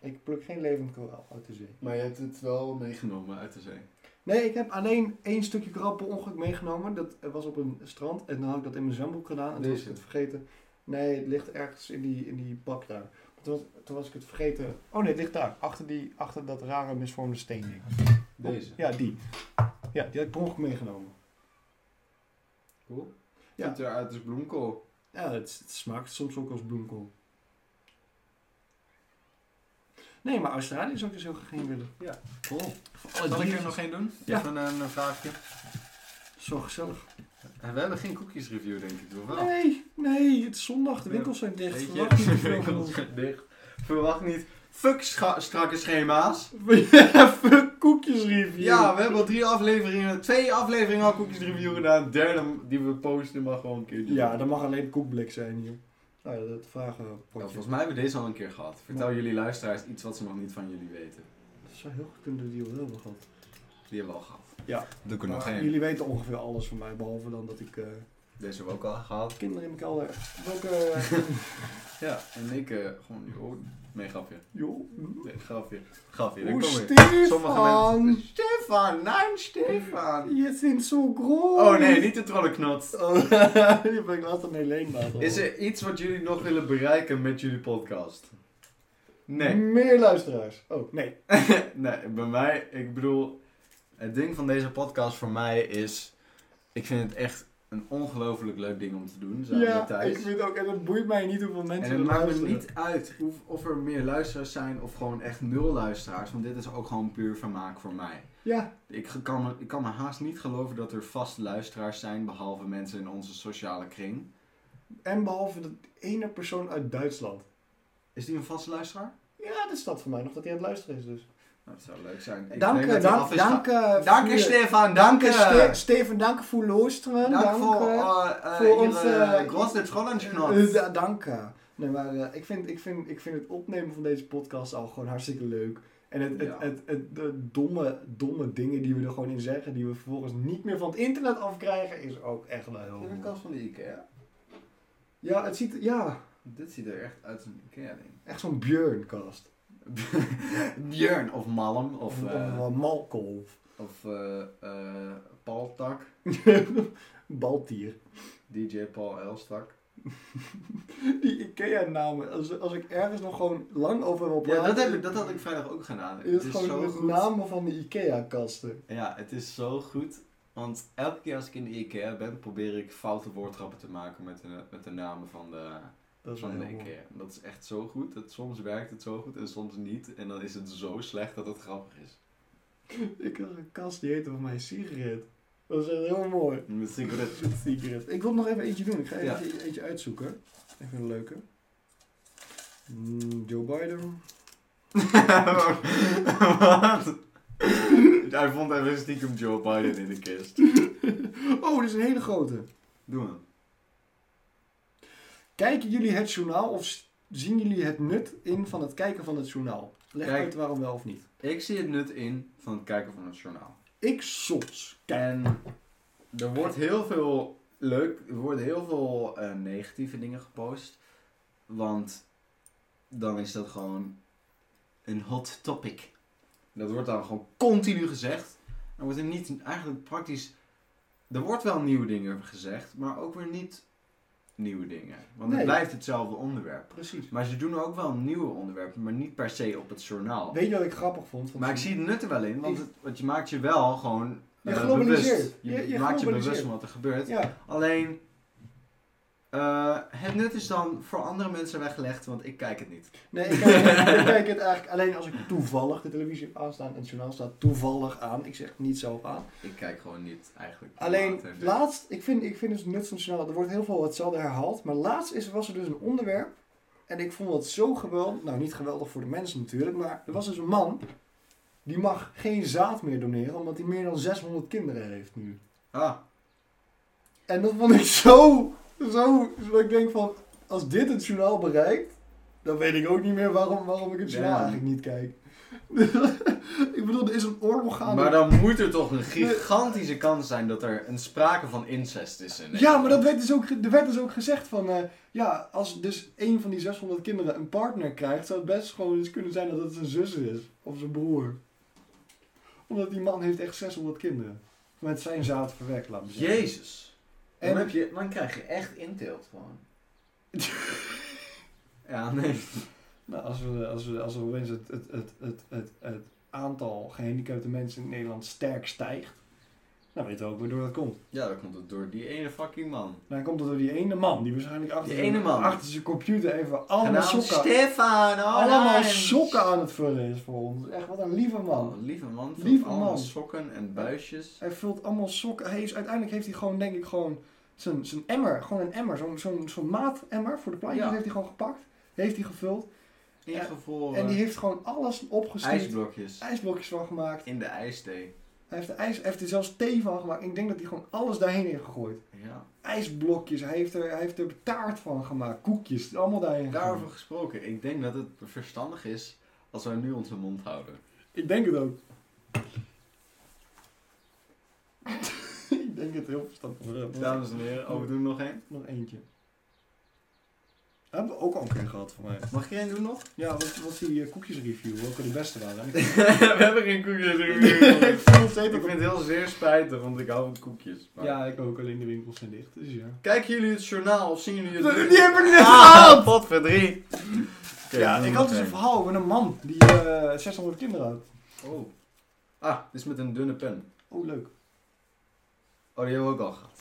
[SPEAKER 1] Ik pluk geen levend koraal uit de zee.
[SPEAKER 2] Maar je hebt het wel meegenomen uit de zee.
[SPEAKER 1] Nee, ik heb alleen één stukje koraal per ongeluk meegenomen. Dat eh, was op een strand en dan had ik dat in mijn zwembroek gedaan. En toen was ik
[SPEAKER 2] Deze.
[SPEAKER 1] het vergeten. Nee, het ligt ergens in die, in die bak daar. Toen was, toen was ik het vergeten. Oh nee, het ligt daar. Achter, die, achter dat rare misvormde steending.
[SPEAKER 2] Deze.
[SPEAKER 1] Ja, die. Ja, die had ik per ongeluk meegenomen.
[SPEAKER 2] Cool.
[SPEAKER 1] Ja.
[SPEAKER 2] Ziet eruit als bloemkool.
[SPEAKER 1] Ja, het, het smaakt soms ook als bloemkool. Nee, maar Australië zou ik dus heel graag heen willen.
[SPEAKER 2] Cool.
[SPEAKER 1] Voor alle
[SPEAKER 2] Zal ik
[SPEAKER 1] drie
[SPEAKER 2] er
[SPEAKER 1] is-
[SPEAKER 2] Oh, nog één doen?
[SPEAKER 1] Ja.
[SPEAKER 2] Even een, een vraagje.
[SPEAKER 1] Zo gezellig.
[SPEAKER 2] En we hebben geen cookies review, denk ik, toch wel?
[SPEAKER 1] Nee, nee, het is zondag. De
[SPEAKER 2] Ja.
[SPEAKER 1] winkels zijn dicht.
[SPEAKER 2] Weet
[SPEAKER 1] Verwacht niet
[SPEAKER 2] [LAUGHS]
[SPEAKER 1] te veel van ons.
[SPEAKER 2] je? Dicht. Verwacht niet. Fuck scha- strakke schema's.
[SPEAKER 1] Even koekjes review.
[SPEAKER 2] Ja, we hebben al drie afleveringen, twee afleveringen al cookies review gedaan. Derde die we posten mag gewoon een keertje.
[SPEAKER 1] Ja, dat mag alleen koekblik zijn hier. Nou ja, dat vragen we.
[SPEAKER 2] Nou,
[SPEAKER 1] potje.
[SPEAKER 2] volgens mij hebben we deze al een keer gehad. Vertel jullie luisteraars iets wat ze nog niet van jullie weten.
[SPEAKER 1] Dat zou heel goed kunnen die we hebben gehad.
[SPEAKER 2] Die hebben we al gehad.
[SPEAKER 1] Ja.
[SPEAKER 2] Doe ik er nog
[SPEAKER 1] Maar
[SPEAKER 2] één.
[SPEAKER 1] Jullie weten ongeveer alles van mij, behalve dan dat ik eh,
[SPEAKER 2] Deze hebben we ook al gehad.
[SPEAKER 1] kinderen in mijn kelder. Welke.
[SPEAKER 2] [LAUGHS] Ja, en ik eh, gewoon, joh, nee, grapje.
[SPEAKER 1] joh.
[SPEAKER 2] Nee, grapje. Grapje, daar
[SPEAKER 1] Oeh,
[SPEAKER 2] kom ik.
[SPEAKER 1] Stefan!
[SPEAKER 2] Stefan, nein, Stefan.
[SPEAKER 1] Je bent zo groot!
[SPEAKER 2] Oh nee, niet de trollenknot.
[SPEAKER 1] Oh, [LAUGHS] die ben ik laatst aan Helene laten
[SPEAKER 2] Is
[SPEAKER 1] horen.
[SPEAKER 2] er iets wat jullie nog willen bereiken met jullie podcast? Nee.
[SPEAKER 1] Meer luisteraars. Oh, nee.
[SPEAKER 2] nee, bij mij, ik bedoel, het ding van deze podcast voor mij is, ik vind het echt een ongelooflijk leuk ding om te doen, samen
[SPEAKER 1] ja,
[SPEAKER 2] met Thijs.
[SPEAKER 1] ik vind ook, en het boeit mij niet hoeveel mensen
[SPEAKER 2] En het
[SPEAKER 1] er
[SPEAKER 2] maakt me
[SPEAKER 1] luisteren.
[SPEAKER 2] niet uit of, of er meer luisteraars zijn of gewoon echt nul luisteraars, want dit is ook gewoon puur vermaak voor mij.
[SPEAKER 1] Ja,
[SPEAKER 2] Ik ge- kan, me, ik kan me haast niet geloven dat er vast luisteraars zijn, behalve mensen in onze sociale kring.
[SPEAKER 1] en behalve dat ene persoon uit Duitsland.
[SPEAKER 2] Is die een vaste luisteraar?
[SPEAKER 1] Ja, dat staat voor mij nog dat hij aan het luisteren is dus.
[SPEAKER 2] Nou, dat zou leuk zijn. Ik
[SPEAKER 1] Dank,
[SPEAKER 2] neem dat
[SPEAKER 1] dank,
[SPEAKER 2] die af
[SPEAKER 1] dank,
[SPEAKER 2] is
[SPEAKER 1] dank, eh,
[SPEAKER 2] ge- Dank je, Stefan, dank je.
[SPEAKER 1] Steven, dank voor luisteren.
[SPEAKER 2] Dank voor,
[SPEAKER 1] eh,
[SPEAKER 2] eh, eh,
[SPEAKER 1] voor
[SPEAKER 2] Ihre
[SPEAKER 1] ons, eh,
[SPEAKER 2] grote Trollensknot.
[SPEAKER 1] Eh, ja, dank. eh. Nee, maar eh, ik, vind, ik, vind, ik vind het opnemen van deze podcast al gewoon hartstikke leuk. En het,
[SPEAKER 2] Ja.
[SPEAKER 1] het, het, het- de domme, domme dingen die we er gewoon in zeggen, die we vervolgens niet meer van het internet afkrijgen, is ook echt wel heel
[SPEAKER 2] Dit is een
[SPEAKER 1] goed.
[SPEAKER 2] kast van de Ikea.
[SPEAKER 1] Ja, het ziet, ja,
[SPEAKER 2] Dit ziet er echt uit als een Ikea-ding.
[SPEAKER 1] echt zo'n Björnkast.
[SPEAKER 2] Björn of Malm of,
[SPEAKER 1] Of,
[SPEAKER 2] eh,
[SPEAKER 1] of, eh, Malkolf.
[SPEAKER 2] of eh, eh, Paul Tak.
[SPEAKER 1] [LAUGHS] Baltier.
[SPEAKER 2] DJ Paul Elstak.
[SPEAKER 1] Die IKEA-namen, als, als ik ergens nog gewoon lang over wil praten.
[SPEAKER 2] Ja, dat, heb ik, dat had ik vrijdag ook gedaan.
[SPEAKER 1] Is gewoon de namen van de IKEA-kasten.
[SPEAKER 2] Ja, het is zo goed. Want elke keer als ik in de Ikea ben, probeer ik foute woordgrappen te maken met de, met de namen van de,
[SPEAKER 1] Dat is wel
[SPEAKER 2] van de
[SPEAKER 1] heel mooi.
[SPEAKER 2] Ikea. Dat is echt zo goed. Dat, soms werkt het zo goed en soms niet. En dan is het zo slecht dat het grappig is.
[SPEAKER 1] Ik had een kast die heette van mij Sigrid. Dat is echt heel mooi.
[SPEAKER 2] Met sigaret.
[SPEAKER 1] [LAUGHS] Sigrid. Ik wil nog even eentje doen. Ik ga even
[SPEAKER 2] Ja.
[SPEAKER 1] eentje, eentje uitzoeken. Even een leuke. Mm, Joe Biden.
[SPEAKER 2] Wat? Hij vond even stiekem Joe Biden in de kist.
[SPEAKER 1] Oh, dit is een hele grote.
[SPEAKER 2] Doe hem.
[SPEAKER 1] Kijken jullie het journaal of s- zien jullie het nut in van het kijken van het journaal? Leg
[SPEAKER 2] Kijk.
[SPEAKER 1] uit waarom wel of niet.
[SPEAKER 2] Ik zie het nut in van het kijken van het journaal.
[SPEAKER 1] Ik soms. Kijk.
[SPEAKER 2] En er wordt heel veel leuk, er worden heel veel eh, negatieve dingen gepost. Want dan is dat gewoon een hot topic. Dat wordt dan gewoon continu gezegd. Er wordt er niet eigenlijk praktisch. Er wordt wel nieuwe dingen gezegd, maar ook weer niet nieuwe dingen. Want
[SPEAKER 1] Nee.
[SPEAKER 2] het blijft hetzelfde onderwerp.
[SPEAKER 1] Precies.
[SPEAKER 2] Maar ze doen ook wel nieuwe onderwerpen, maar niet per se op het journaal.
[SPEAKER 1] Weet je wat ik grappig vond? Want
[SPEAKER 2] Maar ik zie het nut er wel in, want, het, want je maakt je wel gewoon
[SPEAKER 1] Je
[SPEAKER 2] eh,
[SPEAKER 1] globaliseert.
[SPEAKER 2] bewust. Je,
[SPEAKER 1] Je- je
[SPEAKER 2] maakt
[SPEAKER 1] globaliseert.
[SPEAKER 2] je bewust van wat er gebeurt.
[SPEAKER 1] Ja,
[SPEAKER 2] Alleen, eh, het nut is dan voor andere mensen weggelegd, want ik kijk het niet.
[SPEAKER 1] nee, ik kijk,
[SPEAKER 2] [LAUGHS]
[SPEAKER 1] ik kijk het eigenlijk alleen als ik toevallig de televisie heb aanstaan en het journaal staat toevallig aan. Ik zeg het niet zelf aan.
[SPEAKER 2] Ik kijk gewoon niet eigenlijk.
[SPEAKER 1] Alleen
[SPEAKER 2] Later. dus.
[SPEAKER 1] laatst, ik vind, ik vind het nut van snel. Er wordt heel veel hetzelfde herhaald. Maar laatst is, was er dus een onderwerp. En ik vond dat zo geweldig. Nou, niet geweldig voor de mensen natuurlijk. Maar er was dus een man. Die mag geen zaad meer doneren. Omdat hij meer dan 600 kinderen heeft nu.
[SPEAKER 2] Ah,
[SPEAKER 1] En dat vond ik zo. Zo. Dat ik denk van. Als dit het journaal bereikt. Dan weet ik ook niet meer waarom, waarom ik het journaal
[SPEAKER 2] Ja.
[SPEAKER 1] eigenlijk niet kijk. [LAUGHS] ik bedoel, er is een oorlog gaande.
[SPEAKER 2] maar dan moet er toch een gigantische kans zijn dat er een sprake van incest is. In
[SPEAKER 1] Ja,
[SPEAKER 2] Nederland.
[SPEAKER 1] maar dat werd dus ook, ge- er werd dus ook gezegd van... eh, ja, als dus een van die 600 kinderen een partner krijgt... zou het best gewoon eens kunnen zijn dat het zijn zus is. Of zijn broer. Omdat die man heeft echt 600 kinderen. Met zijn zaad verwekt, laat me zeggen.
[SPEAKER 2] Jezus.
[SPEAKER 1] En-
[SPEAKER 2] Dan, heb je, dan krijg je echt inteelt gewoon. [LAUGHS] ja, nee.
[SPEAKER 1] Nou, als we, als we, als we opeens het, het, het, het, het, het aantal gehandicapte mensen in Nederland sterk stijgt... Dan weten we ook weer door dat komt.
[SPEAKER 2] Ja, dat komt het door die ene fucking man.
[SPEAKER 1] Dan komt het door die ene man die waarschijnlijk achter,
[SPEAKER 2] Die
[SPEAKER 1] zijn-
[SPEAKER 2] ene man.
[SPEAKER 1] achter zijn computer even allemaal
[SPEAKER 2] Genaamd
[SPEAKER 1] sokken,
[SPEAKER 2] Stefan! oh,
[SPEAKER 1] allemaal
[SPEAKER 2] nee.
[SPEAKER 1] sokken aan het vullen is voor ons. Echt wat een lieve man.
[SPEAKER 2] Oh, lieve man. Van
[SPEAKER 1] Lieve
[SPEAKER 2] allemaal
[SPEAKER 1] man.
[SPEAKER 2] sokken en buisjes.
[SPEAKER 1] Hij vult allemaal sokken. Hij is, uiteindelijk heeft hij gewoon, denk ik, gewoon zijn, zijn emmer. Gewoon een emmer. Zo'n zo'n zo'n maatemmer voor de plantjes
[SPEAKER 2] Ja.
[SPEAKER 1] heeft hij gewoon gepakt. Heeft hij gevuld.
[SPEAKER 2] Ingevroren.
[SPEAKER 1] En die heeft gewoon alles opgestuurd.
[SPEAKER 2] ijsblokjes.
[SPEAKER 1] ijsblokjes van gemaakt.
[SPEAKER 2] In de ijsthee.
[SPEAKER 1] Hij heeft, er ijs, hij heeft er zelfs thee van gemaakt. Ik denk dat hij gewoon alles daarheen heeft gegooid.
[SPEAKER 2] Ja.
[SPEAKER 1] Ijsblokjes. Hij heeft er, hij heeft er taart van gemaakt. Koekjes. Allemaal daarheen
[SPEAKER 2] Daarover
[SPEAKER 1] gegooid.
[SPEAKER 2] gesproken, ik denk dat het verstandig is als wij nu onze mond houden.
[SPEAKER 1] Ik denk het ook. [LAUGHS] ik denk het heel verstandig.
[SPEAKER 2] Dames en heren, oh, we doen er nog één.
[SPEAKER 1] Nog eentje. Hebben we ook al een keer gehad van mij.
[SPEAKER 2] Mag jij doen [LAUGHS] nog?
[SPEAKER 1] Ja, wat was die eh, koekjesreview? Welke de beste waren? En ik-
[SPEAKER 2] [LAUGHS] we hebben geen koekjes
[SPEAKER 1] ik voel nog steeds
[SPEAKER 2] Ik
[SPEAKER 1] dat
[SPEAKER 2] vind het heel zeer spijtig, want ik hou van koekjes. maar-
[SPEAKER 1] Ja, ik ook. Alleen de winkels zijn dicht. Dus ja.
[SPEAKER 2] Kijken jullie het journaal of zien jullie het...
[SPEAKER 1] Die heb ik net
[SPEAKER 2] Ah, pot voor drie. Oké,
[SPEAKER 1] ja,
[SPEAKER 2] doen we
[SPEAKER 1] ik
[SPEAKER 2] nog
[SPEAKER 1] had dus een
[SPEAKER 2] één.
[SPEAKER 1] verhaal met een man die eh 600 kinderen had.
[SPEAKER 2] Oh. Ah, dit is met een dunne pen.
[SPEAKER 1] Oh, leuk.
[SPEAKER 2] Oh, die hebben we ook al gehad.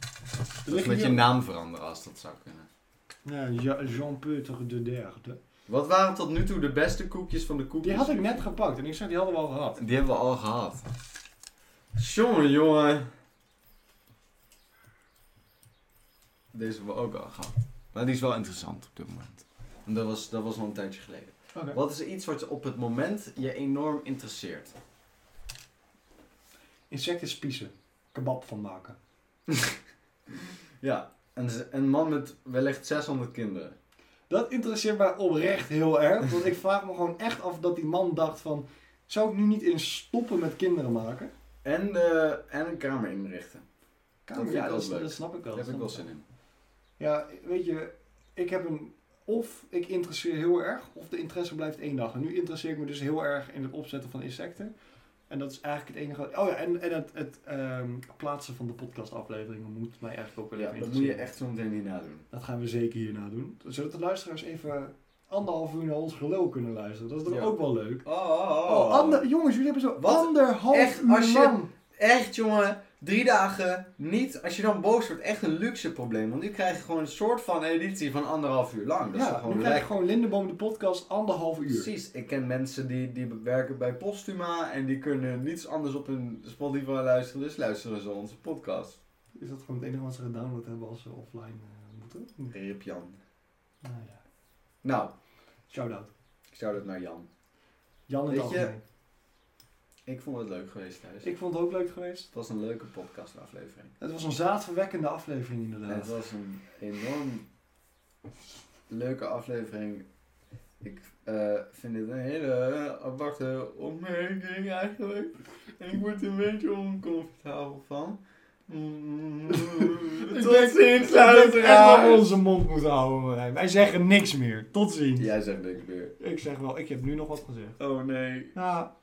[SPEAKER 1] Er
[SPEAKER 2] Dus
[SPEAKER 1] liggen
[SPEAKER 2] met je
[SPEAKER 1] hier-
[SPEAKER 2] naam veranderen als dat zou kunnen.
[SPEAKER 1] Ja, Ja, Jean-Peuter de derde.
[SPEAKER 2] Wat waren tot nu toe de beste koekjes van de koekjes?
[SPEAKER 1] Die had ik net gepakt en ik zei, die hadden we al gehad.
[SPEAKER 2] Die hebben we al gehad. Jongen, jongen. Deze hebben we ook al gehad. Maar die is wel interessant op dit moment. En dat was, dat was al een tijdje geleden.
[SPEAKER 1] Oké.
[SPEAKER 2] Wat is iets wat op het moment je enorm interesseert?
[SPEAKER 1] Insecten spiezen. Kebab van maken.
[SPEAKER 2] Ja, een, z- een man met wellicht 600 kinderen.
[SPEAKER 1] Dat interesseert mij oprecht heel erg. Want ik vraag me gewoon echt af dat die man dacht van... Zou ik nu niet in stoppen met kinderen maken?
[SPEAKER 2] En, eh, en een kamer inrichten. vind ik
[SPEAKER 1] ja,
[SPEAKER 2] ook
[SPEAKER 1] dat,
[SPEAKER 2] leuk.
[SPEAKER 1] dat snap ik wel.
[SPEAKER 2] Daar heb ik wel
[SPEAKER 1] dat
[SPEAKER 2] zin
[SPEAKER 1] snap
[SPEAKER 2] in.
[SPEAKER 1] ik wel. Ja, weet je... Ik heb een... Of ik interesseer heel erg, of de interesse blijft één dag. En nu interesseer ik me dus heel erg in het opzetten van insecten. En dat is eigenlijk het enige... Oh ja, en, en het, het ehm, plaatsen van de podcastafleveringen moet mij eigenlijk ook wel
[SPEAKER 2] Ja,
[SPEAKER 1] even
[SPEAKER 2] dat moet je
[SPEAKER 1] interesseren.
[SPEAKER 2] echt zo meteen hierna doen.
[SPEAKER 1] Dat gaan we zeker hierna doen. Zodat de luisteraars even anderhalf uur naar ons gelul kunnen luisteren. Dat is dan
[SPEAKER 2] Ja.
[SPEAKER 1] ook wel leuk.
[SPEAKER 2] Oh, oh, oh.
[SPEAKER 1] Oh, ander, jongens, jullie hebben zo
[SPEAKER 2] Wat?
[SPEAKER 1] anderhalf
[SPEAKER 2] Echt,
[SPEAKER 1] uur
[SPEAKER 2] als je-
[SPEAKER 1] lang.
[SPEAKER 2] Echt, jongen. Drie dagen niet. Als je dan boos wordt, echt een luxe probleem. Want nu krijg je gewoon een soort van editie van anderhalf uur lang. Dat is
[SPEAKER 1] Ja,
[SPEAKER 2] toch
[SPEAKER 1] nu
[SPEAKER 2] gewoon
[SPEAKER 1] krijg je
[SPEAKER 2] lekker.
[SPEAKER 1] gewoon Lindenboom de podcast anderhalf uur.
[SPEAKER 2] Precies. Ik ken mensen die, die werken bij Postuma en die kunnen niets anders op hun Spotify luisteren. Dus luisteren ze onze podcast.
[SPEAKER 1] Is dat gewoon het enige wat ze gedownload hebben als ze offline eh, moeten?
[SPEAKER 2] Rip Jan.
[SPEAKER 1] Nou ja,
[SPEAKER 2] Nou,
[SPEAKER 1] shout-out.
[SPEAKER 2] ik zou dat naar Jan.
[SPEAKER 1] Jan en
[SPEAKER 2] Weet
[SPEAKER 1] Weet
[SPEAKER 2] je- Ik vond het leuk geweest thuis.
[SPEAKER 1] Ik vond het ook leuk geweest.
[SPEAKER 2] Het was een leuke podcastaflevering.
[SPEAKER 1] Het was een zaadverwekkende aflevering
[SPEAKER 2] En het
[SPEAKER 1] inderdaad.
[SPEAKER 2] was een enorm leuke aflevering. Ik eh, vind dit een hele aparte opmerking eigenlijk. En ik word er een beetje oncomfortabel van. Mm. [LAUGHS] Tot ziens, luisteraars!
[SPEAKER 1] onze mond moeten houden. Marijn. Wij zeggen niks meer. Tot ziens.
[SPEAKER 2] Jij zegt niks meer.
[SPEAKER 1] Ik zeg wel, ik heb nu nog wat gezegd.
[SPEAKER 2] Oh nee.
[SPEAKER 1] Ja,